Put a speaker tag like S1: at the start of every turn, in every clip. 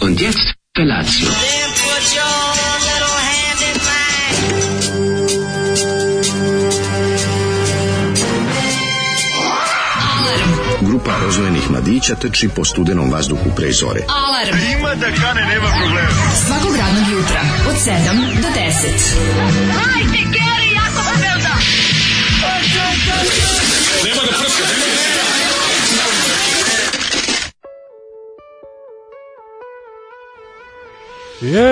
S1: Und jetzt Felatio.
S2: Grupa rozvojenih mladića teči po studenom vazduhu pre zore.
S3: Alarm. Svakog radnog jutra, od 7 do 10. Hajde, Geri, jako pobelda!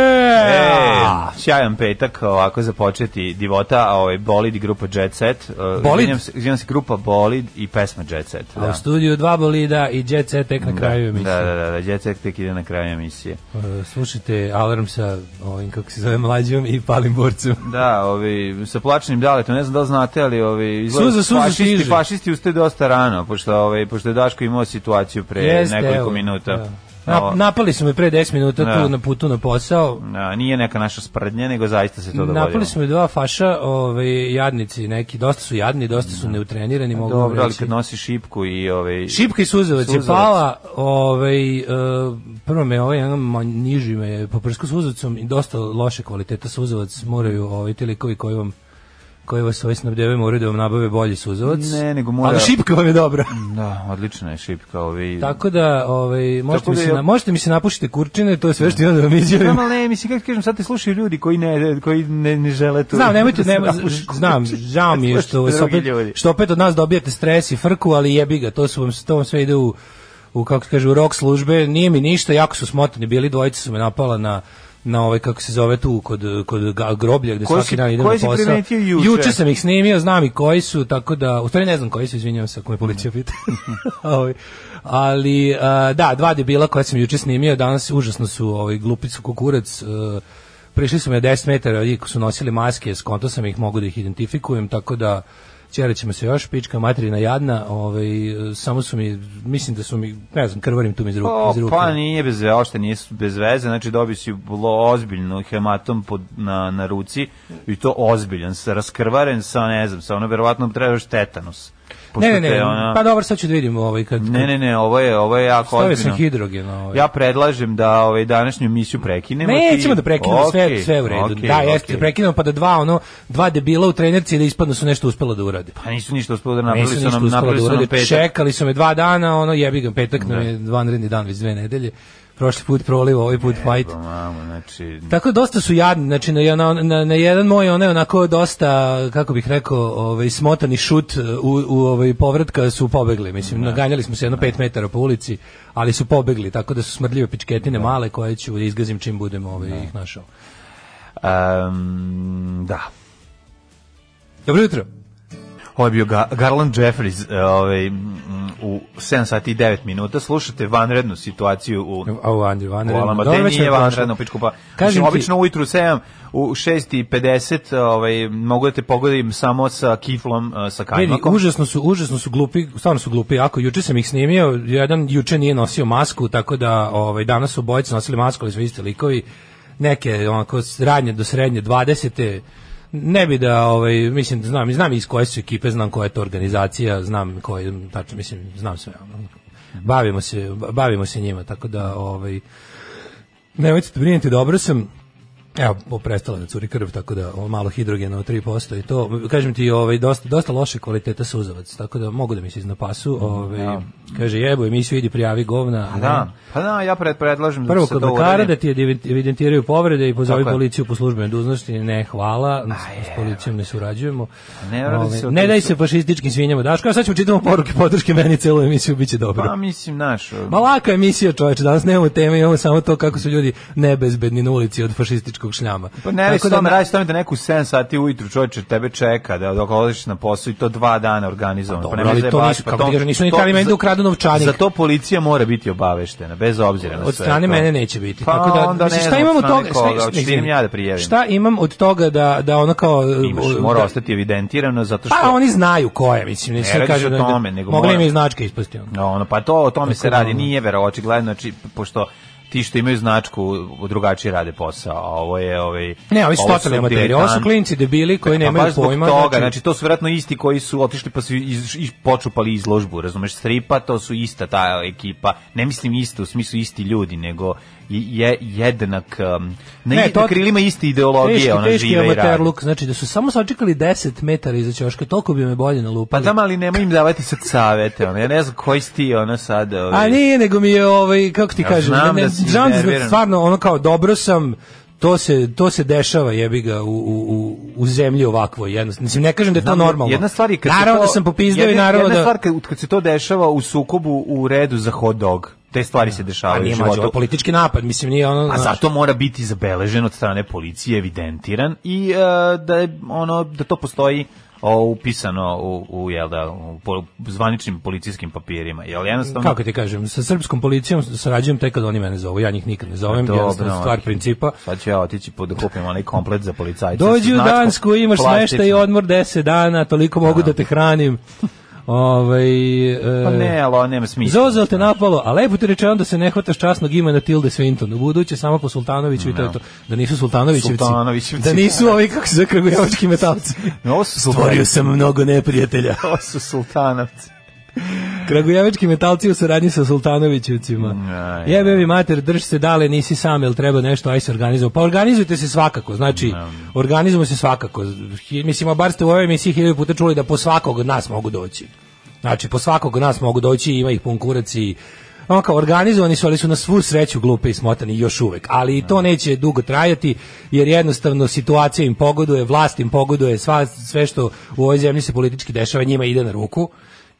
S4: Yeah! E, sjajan petak, ovako započeti divota, a ovaj Bolid i grupa Jet Set. Uh,
S5: Bolid?
S4: izvinjam se, izvinjam se, grupa Bolid i pesma Jet Set.
S5: A u
S4: Da.
S5: studiju dva bolida i Jet Set tek na kraju emisije.
S4: Da, da, da, da, Jet Set tek ide na kraju emisije.
S5: E, Slušajte alarm sa ovim, kako se zove, mlađom i palim borcem.
S4: Da, ovi, sa plačnim daletom, ne znam da li znate, ali ovi, izgleda
S5: Suza, suza
S4: fašisti,
S5: stiže.
S4: fašisti ustaju dosta rano, pošto, ovi, pošto je Daško imao situaciju pre
S5: Jeste,
S4: nekoliko
S5: evo,
S4: minuta.
S5: da. Na,
S4: Ovo,
S5: napali su me pre 10 minuta
S4: Da.
S5: tu na putu na posao.
S4: na, nije neka naša sprdnja, nego zaista se to dogodilo.
S5: Napali su me dva faša, ovaj, jadnici neki, dosta su jadni, dosta su neutrenirani, mogu vam
S4: Dobro, ali
S5: reći.
S4: kad nosi šipku i... Ove,
S5: Šipka i suzavac,
S4: Suzavac.
S5: je pala, ovaj, e, prvo me ovaj, jedan ma- niži me je poprsku suzavcom i dosta loše kvaliteta suzavac moraju ovaj, ti likovi koji vam koji vas ovaj snabdevaju moraju da vam nabave bolji suzavac.
S4: Ne, nego mora-
S5: Ali šipka vam je dobra.
S4: Da, odlična je šipka. Ovi,
S5: Tako da, ovaj, možete,
S4: Tako
S5: mi
S4: da
S5: se,
S4: je-
S5: na- možete mi se napušiti kurčine, to je sve što imam da vam
S4: Znam,
S5: izjavim.
S4: ali ne, mislim, kako ti kažem, sad te slušaju ljudi koji ne, koji ne, ne žele to.
S5: Znam, nemojte,
S4: da se
S5: nemo,
S4: napuši.
S5: znam, žao mi je što,
S4: Slušaju
S5: vas
S4: drugi
S5: opet,
S4: ljudi.
S5: što opet od nas dobijate stres i frku, ali jebi ga, to, su vam, to vam sve ide u, u kako se kaže, u rok službe, nije mi ništa, jako su smotani bili, dvojica su me napala na na ovaj kako se zove tu kod kod ga- groblja gde
S4: Koje
S5: svaki
S4: si-
S5: dan idem na
S4: koje si
S5: posao.
S4: primetio juče?
S5: sam ih snimio, znam i koji su, tako da u stvari ne znam koji su, izvinjavam se ako me policija pita.
S4: Mhm.
S5: Ovaj, ali a, da, dva debila koja sam juče snimio, danas užasno su ovaj glupicu kukurac e, prišli su me 10 metara, i su nosili maske, skonto sam ih, mogu da ih identifikujem, tako da Čerat ćemo se još, pička materina jadna, ovaj, e, samo su mi, mislim da su mi, ne znam, krvarim tu mi iz ruke.
S4: O,
S5: iz ruke.
S4: pa nije bez veze, ošte nije bez veze, znači dobio si bilo ozbiljno hematom pod, na, na ruci i to ozbiljan, sa raskrvaren sa, ne znam, sa ono, verovatno trebaš tetanus. Pošto
S5: ne, ne, ne,
S4: te, ono-
S5: pa dobro, sad ću da vidim ovaj, kad,
S4: ne, ne, ne, ovo je, ovo je jako
S5: stavio sam
S4: ozbiljno.
S5: hidrogen. Ovaj.
S4: Ja predlažem da ovaj današnju emisiju prekinemo.
S5: Nećemo
S4: ti-
S5: da prekinemo sve,
S4: Okej,
S5: sve u redu.
S4: okej,
S5: da, jeste,
S4: okej.
S5: prekinemo pa da dva, ono, dva debila u trenerci da ispadno su nešto uspela da urade.
S4: Pa nisu ništa uspeli da napravili
S5: Nisu
S4: su nam,
S5: ništa uspela
S4: napravili
S5: da
S4: su nam
S5: urade.
S4: petak.
S5: Čekali su me dva dana, ono, jebi ga, petak nam je vanredni dan, već dve nedelje. Prošli put proliv, ovaj put fight.
S4: Pa, mamo, znači,
S5: Tako da dosta su jadni, znači na, na, na, na jedan moj onaj onako dosta, kako bih rekao, ovaj, smotani šut u, u ovaj, povratka su pobegli, mislim, naganjali smo se jedno 5 metara po ulici, ali su pobegli, tako da su smrdljive pičketine male koje ću da izgazim čim budem ovaj, ih našao.
S4: Ehm, da.
S5: Dobro jutro.
S4: Ovo je bio Ga- Garland Jeffries e, ovaj, mm, u 7 sati i 9 minuta. Slušate vanrednu situaciju u
S5: A u Andriju,
S4: u
S5: Andriju.
S4: Alamate, nije vanredno pičku pa.
S5: Kažem
S4: Kažem
S5: ti-
S4: obično ujutru 7 u 6:50, ovaj mogu da te pogodim samo sa kiflom, e, sa
S5: Vidi,
S4: kajmakom.
S5: užasno su, užasno su glupi, stvarno su glupi, ako juče sam ih snimio, jedan juče nije nosio masku, tako da ovaj, danas su bojice nosili masku, ali su isti likovi, neke onako s- radnje do srednje 20. Ne bi da, ovaj, mislim, znam, znam iz koje su ekipe, znam koja je to organizacija, znam koje, tačno, mislim, znam sve. ono. Bavimo se, bavimo se njima, tako da, ovaj, nemojte da brinete, dobro sam, Evo, bo- prestala je da curi krv, tako da o, malo hidrogena od 3% i to. Kažem ti, ovaj, dosta, dosta loše kvaliteta suzavac, tako da mogu da mi se iznapasu.
S4: Mm,
S5: Ovaj, Kaže, jebo, emisiju idi prijavi govna.
S4: Pa da, pa da, ja pred predlažem
S5: Prvo
S4: da se
S5: kod
S4: to
S5: lekara
S4: uradi.
S5: da ti evi- evidentiraju povrede i pozovi
S4: Tako je.
S5: policiju po službenoj dužnosti. Ne, hvala, s policijom ne surađujemo.
S4: Ne radi
S5: Ovaj,
S4: se o
S5: ne
S4: toj
S5: daj
S4: su-
S5: se fašističkim svinjama. Daško, a sad ćemo čitamo poruke podrške meni celu emisiju, bit će dobro.
S4: Pa mislim, naš.
S5: Ma laka emisija čoveče, danas nemamo teme, imamo samo to kako su ljudi nebezbedni na ulici od fašističkog šljama.
S4: Pa ne, radi
S5: Tako
S4: se
S5: da
S4: tome,
S5: na-
S4: radi se tome da neku 7 sati ujutru čovječe tebe čeka da dok odeš na posao i to dva dana organizovano. Pa
S5: Dobro, ali to nisu, kako ti kažem, nisu ni tali meni da ukradu novčanik.
S4: Za to policija mora biti obaveštena, bez obzira na sve
S5: od strane
S4: to.
S5: mene neće biti.
S4: Pa
S5: Tako da,
S4: onda
S5: mislim,
S4: ne
S5: šta
S4: znam,
S5: imam
S4: od
S5: od
S4: strane
S5: toga? Šta-
S4: koga, hoćeš ti
S5: mislim,
S4: idem ja da prijavim?
S5: Šta imam od toga da, da ono kao...
S4: Imaš,
S5: o,
S4: mora
S5: da-
S4: ostati evidentirano zato što...
S5: Pa oni znaju ko je, mislim, ne, sad
S4: radi se
S5: kažem
S4: o
S5: da-
S4: tome, nego
S5: Mogli
S4: mora-
S5: im i značke ispasti. ono.
S4: No, ono, pa to o tome se
S5: Tako da,
S4: radi,
S5: ono.
S4: nije vero, očigledno, znači, pošto ti što imaju značku drugačije rade posao, a ovo je ovaj
S5: Ne, ovi su
S4: ovo
S5: totalni amateri. Ovo su
S4: diletanti.
S5: klinci debili koji
S4: Pa
S5: nemaju
S4: baš zbog
S5: pojma.
S4: Toga, znači, to su vjerojatno isti koji su otišli pa su iz, i počupali izložbu, razumeš, stripa, to su ista ta ekipa. Ne mislim isto u smislu isti ljudi, nego je jednak um, na,
S5: Ne,
S4: ne,
S5: to-
S4: na krilima iste ideologije,
S5: teški,
S4: ona
S5: teški
S4: ono, žive i
S5: amater
S4: radi.
S5: luk, znači da su samo sačekali 10 metara iza ćoška, toliko bi me bolje
S4: Pa
S5: nalupali.
S4: da, ali nemoj im davati sad savete, ono, ja ne znam koji si ti, ono, sad... Ovaj,
S5: A nije, nego mi je ovaj kako ti
S4: Ja
S5: kažem,
S4: znam
S5: ne, ne,
S4: da si
S5: znam
S4: iznerviran.
S5: stvarno ono kao dobro sam to se to se dešava jebi ga u u u u zemlji ovakvoj jednostavno. Mislim ne kažem da je to
S4: Znam,
S5: normalno.
S4: Jedna stvar je kad se
S5: naravno
S4: to-
S5: da sam popizdao i
S4: jedna-
S5: naravno
S4: jedna
S5: da
S4: stvar kad, kad se to dešava u sukobu u redu za hot dog. Te stvari se
S5: A
S4: dešavaju u
S5: Pa nije mađo, ovo je
S4: životu. Pa
S5: politički napad, mislim nije ono.
S4: A
S5: znaš.
S4: zato mora biti zabeležen od strane policije, evidentiran i e, da je ono da to postoji o, upisano u, u jel da u po- zvaničnim policijskim papirima. Jel jednostavno
S5: Kako ti kažem, sa srpskom policijom sarađujem tek kad oni mene zovu, ja njih nikad ne zovem,
S4: Dobro,
S5: jednostavno stvar
S4: ono.
S5: principa.
S4: Sad ću ja otići po da kupim onaj komplet za policajce.
S5: Dođi u
S4: sa značkom
S5: Dansku, imaš smeštaj i
S4: plastičnom.
S5: odmor 10 dana, toliko mogu da te hranim. Ovaj, e,
S4: Pa ne, ali ovo nema smisla.
S5: Zozel te napalo, a lepo ti rečeno da se ne hvataš časnog imena Tilde Swinton. U buduće samo po Sultanoviću i to je to. Da nisu Sultanovićevci.
S4: Sultanovićevci.
S5: Da nisu ovi kako se zakrgujevački metalci.
S4: Ovo su
S5: Stvorio
S4: sultanovi.
S5: sam mnogo neprijatelja.
S4: Ovo su sultanovci.
S5: Kragujevački metalci u saradnji sa Sultanovićevcima.
S4: Ja, ja.
S5: Jebe vi mater, drž se dale, nisi sam, jel treba nešto, aj se organizujemo. Pa organizujte se svakako, znači, organizujemo se svakako. Hi- Mislim, a bar ste u ovoj emisiji hiljadu puta čuli da po svakog od nas mogu doći. Znači, po svakog od nas mogu doći, ima ih pun kurac i ono kao organizovani su, ali su na svu sreću glupe i smotani još uvek. Ali i to neće dugo trajati, jer jednostavno situacija im pogoduje, vlast im pogoduje, sva, sve što u ovoj zemlji se politički dešava njima ide na ruku.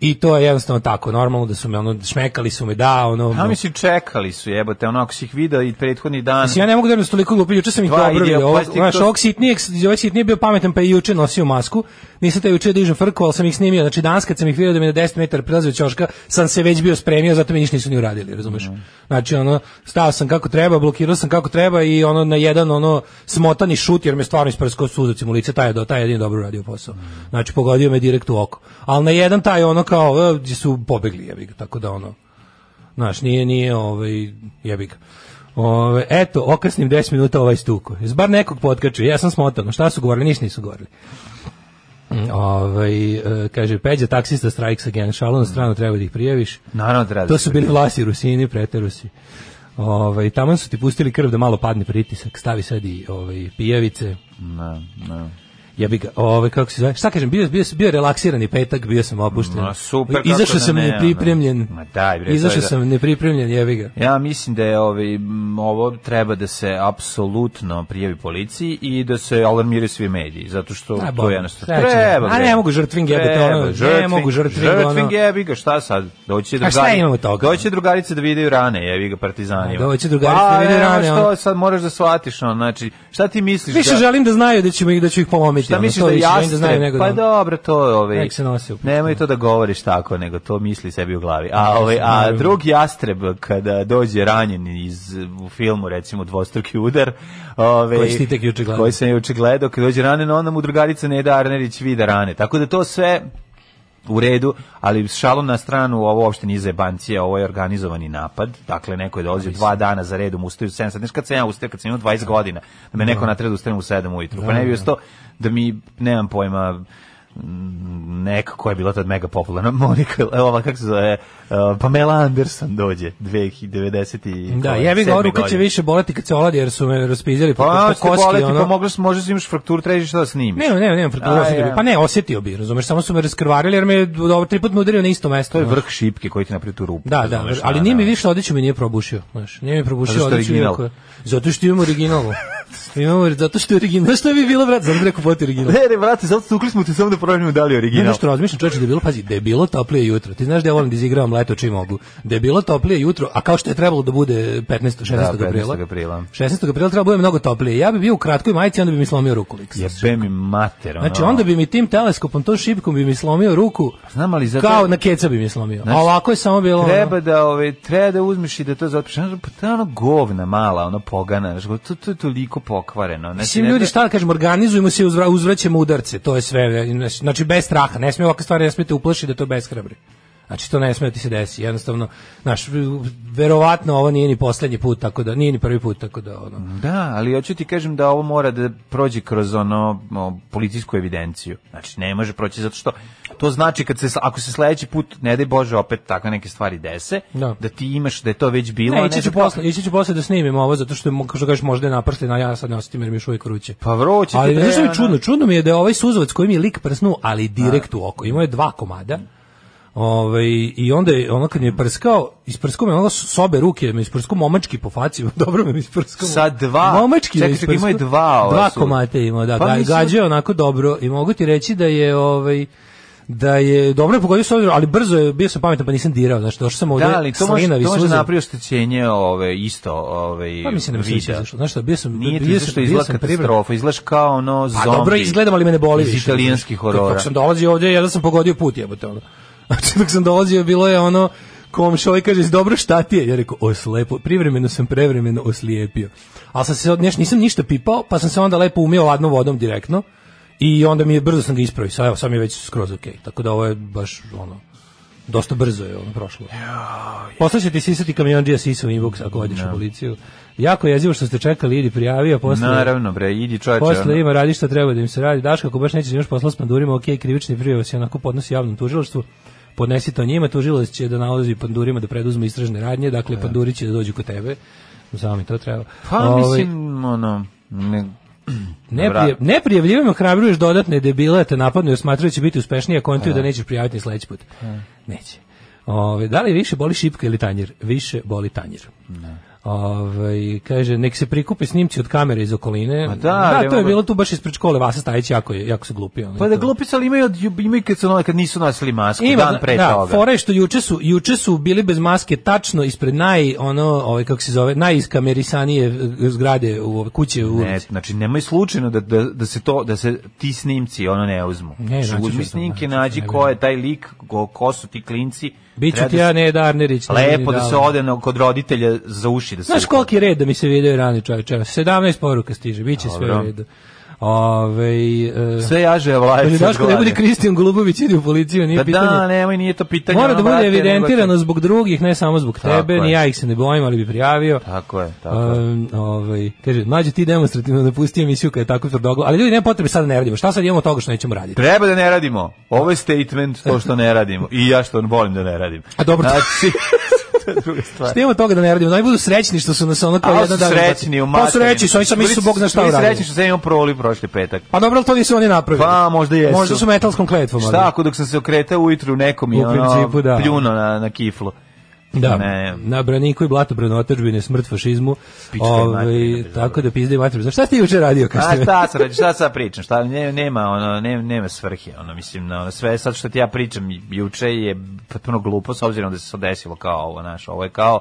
S5: I to je jednostavno tako, normalno da su me ono, šmekali su me, da, ono...
S4: A mi si čekali su, jebote, ono ako si ih video i prethodni dan.
S5: Mislim, ja ne mogu da vjerujem da su toliko glupi, juče sam ih
S4: Dva
S5: dobro
S4: ideja
S5: vidio. Ovo,
S4: plastik,
S5: znaš,
S4: to-
S5: ovog sitnijeg, ovaj sitniji je bio pametan, pa je juče nosio masku. Nisam taj juče dižem frku, ali sam ih snimio. Znači, danas kad sam ih vidio da mi na 10 metara prelazio ćoška, sam se već bio spremio, zato mi ništa nisu ni uradili, razumeš?
S4: Mhm.
S5: Znači, ono, stao sam kako treba, blokirao sam kako treba i ono na jedan ono smotani šut, jer me stvarno isprskao suzacim u lice, taj je, do, taj je jedini dobro uradio posao.
S4: Mhm.
S5: Znači, pogodio me direkt u oko. Ali na jedan taj ono kao, e, gdje su pobegli, jebi ga, tako da ono... Znaš, nije, nije, ovaj, jebi ga. Ove, eto, okasnim 10 minuta ovaj stuko. Jesi bar nekog potkačio, ja sam smotan. Šta su govorili? Ništa nisu govorili. Ovaj e, kaže, Peđa, taksista, strikes again. Šalo na stranu, treba da ih prijaviš.
S4: Naravno treba da
S5: To
S4: se
S5: su bili vlasi Rusini, preterusi. Ovaj tamo su ti pustili krv da malo padne pritisak, stavi sad i ovaj, pijavice.
S4: Ne, ne.
S5: Ja bih ovaj kako se zove? Šta kažem, bio bio bio relaksirani petak, bio sam opušten.
S4: Ma, super, kako
S5: Izašao
S4: da
S5: sam
S4: ne, ono.
S5: nepripremljen.
S4: Ma daj, bre, to je
S5: Izašao
S4: da-
S5: sam nepripremljen, jebi ga.
S4: Ja mislim da je ovaj, m, ovo treba da se apsolutno prijavi policiji i da se alarmiraju svi mediji, zato što
S5: A,
S4: to
S5: bom,
S4: je jednostavno.
S5: srećno.
S4: Treba.
S5: A
S4: bre.
S5: ne mogu žrtving jebote,
S4: Treba,
S5: ono, ne mogu žrtving, ono.
S4: Žrtving jebi ga, šta sad? Doći će
S5: A šta imamo toga?
S4: Doći će drugarice da vide rane, jebi ga partizanima. Pa,
S5: A, doći će drugarice da vide
S4: ne,
S5: rane,
S4: Što,
S5: ono.
S4: sad moraš da shvatiš, ono, znači, šta ti misliš
S5: Više
S4: da...
S5: želim da znaju da ćemo ih da ću ih polomiti.
S4: Šta
S5: ono,
S4: misliš
S5: to
S4: da
S5: više želim
S4: jastre?
S5: da znaju nego
S4: pa
S5: da- ono,
S4: dobro, to je ovaj.
S5: Nek se nosi u putu.
S4: Nemoj to da govoriš tako, nego to misli sebi u glavi. A ovaj a
S5: Naravno.
S4: drug jastreb kada dođe ranjen iz u filmu recimo dvostruki udar, ovaj
S5: Koji si ti tek juče gledao.
S4: Koji sam juče gledao, kada dođe ranjen, onda mu drugarica Neda Arnerić vida rane. Tako da to sve u redu, ali šalom na stranu, ovo uopšte nije zebancija, ovo je organizovani napad, dakle neko je dolazio dva dana za redom, ustaju u 7, sad znaš kad sam ja ustao, kad sam imao 20 godina, da me neko natreda da ustanem u 7 ujutru, pa ne bi ustao da mi, nemam pojma, mm, neka koja je bila tad mega popularna, Monika, evo ova kako se zove, eh, Pamela Anderson dođe, 2090 i...
S5: Da,
S4: koje,
S5: jebi ga,
S4: sedme
S5: ruka će
S4: godine.
S5: više boleti kad se oladi jer su me raspizjeli po,
S4: Pa,
S5: po,
S4: ako ti
S5: koski,
S4: boleti, pa
S5: ono.
S4: mogli smo, možda si imaš frakturu, trebaš šta da snimiš.
S5: Ne, ne, ne, nemam frakturu,
S4: A,
S5: osetio bi.
S4: ja.
S5: Pa ne, osetio bi, razumeš, samo su me raskrvarili jer me je dobro tri puta me udario na isto mesto.
S4: To je
S5: ono.
S4: vrh šipke koji ti napravi tu rupu.
S5: Da, da,
S4: razumeš,
S5: ali
S4: da,
S5: nije mi
S4: da.
S5: više odeću mi nije probušio, znaš. Nije mi probušio
S4: Zato što je
S5: odeću.
S4: original.
S5: iako- Zato što imam original. imamo, zato što je original. Znaš što bi bilo, brat, zato bi rekao poti original.
S4: Ne, ne, brate, zato stukli smo te samo da proverimo da li je
S5: Ja
S4: original.
S5: nešto razmišljam, čoveče, da je bilo, pazi, da je bilo toplije jutro. Ti znaš da ja volim da izigravam leto čim mogu. Da je bilo toplije jutro, a kao što je trebalo da bude 15. 16.
S4: Da, 15.
S5: aprila.
S4: aprila.
S5: 16. aprila trebalo da bude mnogo toplije. Ja bi bio u kratkoj majici, onda bi mi slomio ruku. Lik.
S4: Jebe mi mater, ono.
S5: Znači, onda bi mi tim teleskopom, tom šipkom bi mi slomio ruku,
S4: Znam, ali zato-
S5: kao na keca bi mi slomio.
S4: Znači,
S5: a ovako je samo bilo... ono-
S4: Treba da, ove, treba da uzmeš i da to zapiš. Znaš, pa to je ono govna mala, ono pogana. Znaš, to, to je toliko pokvareno. Znači,
S5: Mislim,
S4: ne
S5: ljudi,
S4: treba-
S5: šta da kažem, organizujemo se i uzvra, znači, uzvraćamo udarce, to je sve, znači bez straha, ne smije ovakve stvari, ne smijete uplašiti da je to bezhrabri. Znači to ne sme da ti se desi. Jednostavno, znaš, verovatno ovo nije ni poslednji put, tako da nije ni prvi put, tako da ono.
S4: Da, ali hoću ti kažem da ovo mora da prođe kroz ono o, policijsku evidenciju. Znači ne može proći zato što to znači kad se sl- ako se sledeći put ne daj bože opet takve neke stvari dese,
S5: Da.
S4: da ti imaš da je to već bilo, a
S5: Ne, ići ću
S4: zato-
S5: posle, ići ću posle da snimim ovo zato što je, mo- kao što kažeš možda je napršten, a ja sad ne osetim jer mi je još uvijek vruće.
S4: Pa vruće ti
S5: Ali
S4: treba,
S5: znaš što mi je
S4: ono.
S5: čudno? Čudno mi je da je ovaj suzovac koji mi je lik prsnuo, ali direkt u oko. Imao je dva komada. Ovaj i onda je ono kad mi je prskao, isprskao me ono s obe ruke, me isprskao momački po faci, dobro me isprskao.
S4: Sa dva?
S5: Momački me
S4: Čekaj, čekaj, imao je
S5: isprskao.
S4: dva ova
S5: Dva
S4: su-
S5: komate je imao, da.
S4: Pa
S5: ga,
S4: mislim-
S5: gađao je onako dobro i mogu ti reći da je ovaj da je dobro je pogodio s obzirom, ali brzo je bio sam pametan pa nisam dirao, znači došao sam ovde
S4: Da, ali to može,
S5: slinav i
S4: to može
S5: suzav.
S4: napravio oštećenje ove, isto ove,
S5: Pa mislim da mi se
S4: vida.
S5: sviđa zašto. Znaš šta, bio sam,
S4: Nije ti
S5: bio
S4: zašto
S5: sam, bio
S4: izgleda
S5: sam pribran.
S4: katastrofa, izgledaš kao ono
S5: Pa
S4: zombi.
S5: dobro izgledam, ali me ne boli
S4: Iz
S5: više.
S4: italijanskih
S5: Znaš,
S4: horora.
S5: Dok sam dolazio ovdje, ja da sam pogodio put jebote ono. Znači dok sam dolazio, bilo je ono, komša ovaj kaže, dobro šta ti je? Ja rekao, oslepo, privremeno sam prevremeno oslijepio. Ali sam se, od- neš, nisam ništa pipao, pa sam se onda lepo umio ladnom vodom direktno. I onda mi je brzo sam ga ispravio. Sad, evo, sad mi je već skroz okej. Tako da ovo je baš, ono, dosta brzo je ono prošlo. Posle će ti sisati kamionđija sisa u inbox ako odeš u policiju. Jako je jezivo što ste čekali, idi prijavi, a posle...
S4: Naravno, bre, idi čoveče. ono.
S5: Posle ima radi šta treba da im se radi. Daško, ako baš nećeš imaš posla s pandurima, ok, krivični prijava se onako podnosi javnom tužilaštvu. Podnesi to njima, tužilac će da nalazi pandurima da preduzme istražne radnje, dakle panduri će da dođu kod tebe. Samo mi to treba.
S4: Pa
S5: Ovaj,
S4: mislim, ono... Ne,
S5: Ne, prije, ne prijavljivanjem hrabruješ dodatne debile, te napadnu jer smatraju da će biti uspešniji, a kontuju da nećeš prijaviti ni sledeći put. Neće. Ove, da li više boli šipka ili tanjir? Više boli tanjir. Ove, kaže, nek se prikupe snimci od kamere iz okoline.
S4: Ma da,
S5: to je
S4: evo ga.
S5: bilo tu baš ispred škole. Vasa Stajić jako, je, jako se glupio. ono,
S4: Pa da
S5: to.
S4: glupice, ali imaju, od- imaju kad, su, ono- kad nisu nosili masku,
S5: Ima,
S4: dan pre
S5: da,
S4: toga.
S5: fora je što juče su, juče su bili bez maske tačno ispred naj, ono, ovaj, kako se zove, najiskamerisanije eh, zgrade u kuće u
S4: Ne,
S5: ulici.
S4: znači nemoj slučajno da, da, da se to da se ti snimci ono ne uzmu.
S5: Ne,
S4: znači,
S5: naći ću
S4: uzmi
S5: sam, naći
S4: snimke,
S5: ću,
S4: nađi
S5: ne
S4: ko je taj lik, ko, ko su ti klinci.
S5: Biću
S4: Treba
S5: ti
S4: da
S5: ja
S4: se-
S5: ne Darnerić. ne,
S4: Lepo da se
S5: Davo.
S4: ode na- kod roditelja za uši da se.
S5: Znaš
S4: uhvati.
S5: koliki je red da mi se video rani čovječe? Evo, 17 poruka stiže, bit će sve
S4: Dobro.
S5: u redu. Ove, e,
S4: sve jaže vlaje.
S5: kaže, Daško, ne budi Kristijan Golubović, idi u policiju, nije
S4: Pa Da,
S5: pitanje.
S4: da, nemoj, nije to pitanje.
S5: Mora
S4: ono,
S5: da bude
S4: brate, nego-
S5: evidentirano zbog drugih, ne samo zbog
S4: Tako
S5: tebe,
S4: je.
S5: ni ja ih se ne bojim, ali bi prijavio.
S4: Tako je, tako je.
S5: Um, ovaj, kaže, mlađe ti demonstrativno napusti emisiju kad je tako tvrdoglav, ali ljudi nema potrebe sada ne radimo, šta sad imamo toga što nećemo raditi?
S4: Treba da ne radimo. Ovo je statement, to što ne radimo. I ja što volim da ne radim.
S5: A dobro, to-
S4: Znači, to je druga stvar.
S5: Šta imamo toga da ne radimo? Da oni budu srećni što su nas ono kao
S4: A
S5: jedno
S4: su
S5: dan...
S4: srećni u
S5: Pa
S4: materinu.
S5: sreći, su, oni sam
S4: Bili
S5: su Bog zna šta
S4: bili
S5: uradili.
S4: srećni što sam imao proli prošli petak.
S5: Pa dobro, ali to nisu oni napravili.
S4: Pa, možda jesu.
S5: Možda su metalskom kletvom. ali-
S4: Šta ako dok sam se okretao ujutru nekom i
S5: U
S4: ono
S5: principu, da.
S4: pljuno na, na kiflu.
S5: Da,
S4: Ne.
S5: na braniku i blatu branotačbine, smrt fašizmu.
S4: Pička je
S5: Ovaj
S4: materina, bez
S5: tako da pizde i materina. Znaš Šta ti juče radio kad
S4: A
S5: ste-
S4: šta sad, radi- šta sad pričam? Šta, ne, nema, ono, ne, nema svrhe, ono, mislim, na ono, sve sad što ti ja pričam juče je potpuno glupo, s obzirom da se sad desilo kao ovo, znaš, ovo je kao,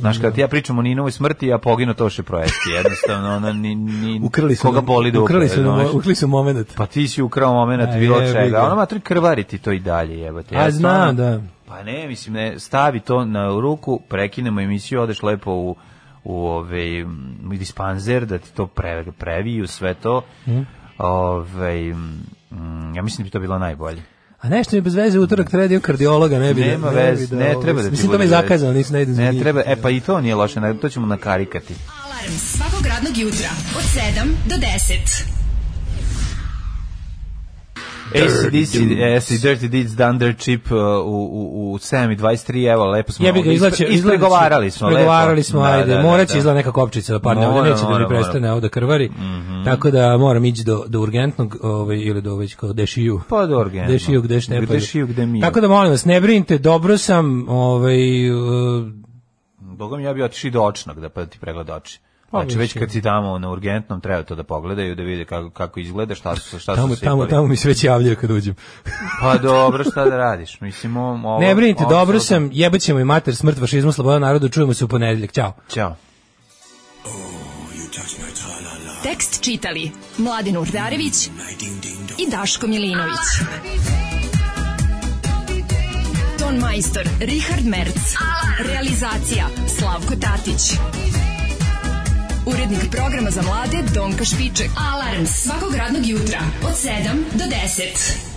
S4: Znaš, kada ti ja pričam o Ninovoj smrti, ja poginu to še projesti, jednostavno, ono, ni, ni,
S5: Ukrili su
S4: koga
S5: nam-
S4: boli dupe,
S5: Ukrili su, nam-
S4: znaš.
S5: ukrili su momenat.
S4: Pa ti si ukrao moment
S5: A,
S4: bilo
S5: jebi
S4: čega.
S5: ga.
S4: Ono matri krvari ti to i dalje jebote.
S5: A, znam,
S4: stvarno-
S5: da.
S4: Pa ne, mislim ne, stavi to na ruku, prekinemo emisiju, odeš lepo u u ovaj m, dispanzer da ti to pre, previju sve to.
S5: Mhm.
S4: Ovaj mm, ja mislim da bi to bilo najbolje.
S5: A nešto mi bez veze utorak treba da idem kardiologa, ne bi.
S4: Nema
S5: ne bi
S4: veze, ne
S5: ovaj,
S4: treba da ti
S5: Mislim to
S4: bude
S5: mi je
S4: veze.
S5: zakazano, nisam ne idem zbog
S4: Ne
S5: njih.
S4: treba, e pa i to nije loše, na- to ćemo nakarikati.
S3: Alarm svakog radnog jutra od 7 do 10.
S4: ACDC, AC Dirty Deeds Dunder Chip uh, u, u, u 7.23, evo, lepo smo.
S5: Jebi ga,
S4: ovdje
S5: izlače,
S4: ispre- ispregovarali smo. lepo.
S5: Pregovarali smo,
S4: Da,
S5: ajde.
S4: da, da,
S5: Morat će
S4: da.
S5: izgleda neka kopčica da padne,
S4: Mora,
S5: ovdje neće da
S4: mora,
S5: mi
S4: mora.
S5: prestane ovdje krvari.
S4: Mhm.
S5: Tako da moram ići do, do urgentnog, ovaj, ili do već kao dešiju.
S4: Pa do urgentnog.
S5: Dešiju gde štepaju.
S4: Dešiju gde miju.
S5: Tako da molim vas, ne brinite, dobro sam, ovaj, uh,
S4: Bogom ja bi otišao i do očnog da pa ti pregleda oči.
S5: Pa,
S4: Znači već
S5: mislim.
S4: kad si tamo na urgentnom treba to da pogledaju da vide kako kako izgleda, šta su šta
S5: tamo,
S4: su sipali.
S5: tamo, tamo mi se već javljaju kad uđem.
S4: Pa dobro, šta da radiš? Mislim o- ovo
S5: Ne brinite,
S4: ovo-
S5: dobro sam, jebaćemo i mater smrt fašizmu, sloboda narodu, čujemo se u ponedeljak. Ćao.
S4: Ćao.
S3: Tekst čitali Mladin Urdarević i Daško Milinović. Ton majstor Richard Merc. Realizacija Slavko Tatić. Urednik programa za mlade Donka Špiček. Alarms svakog radnog jutra od 7 do 10.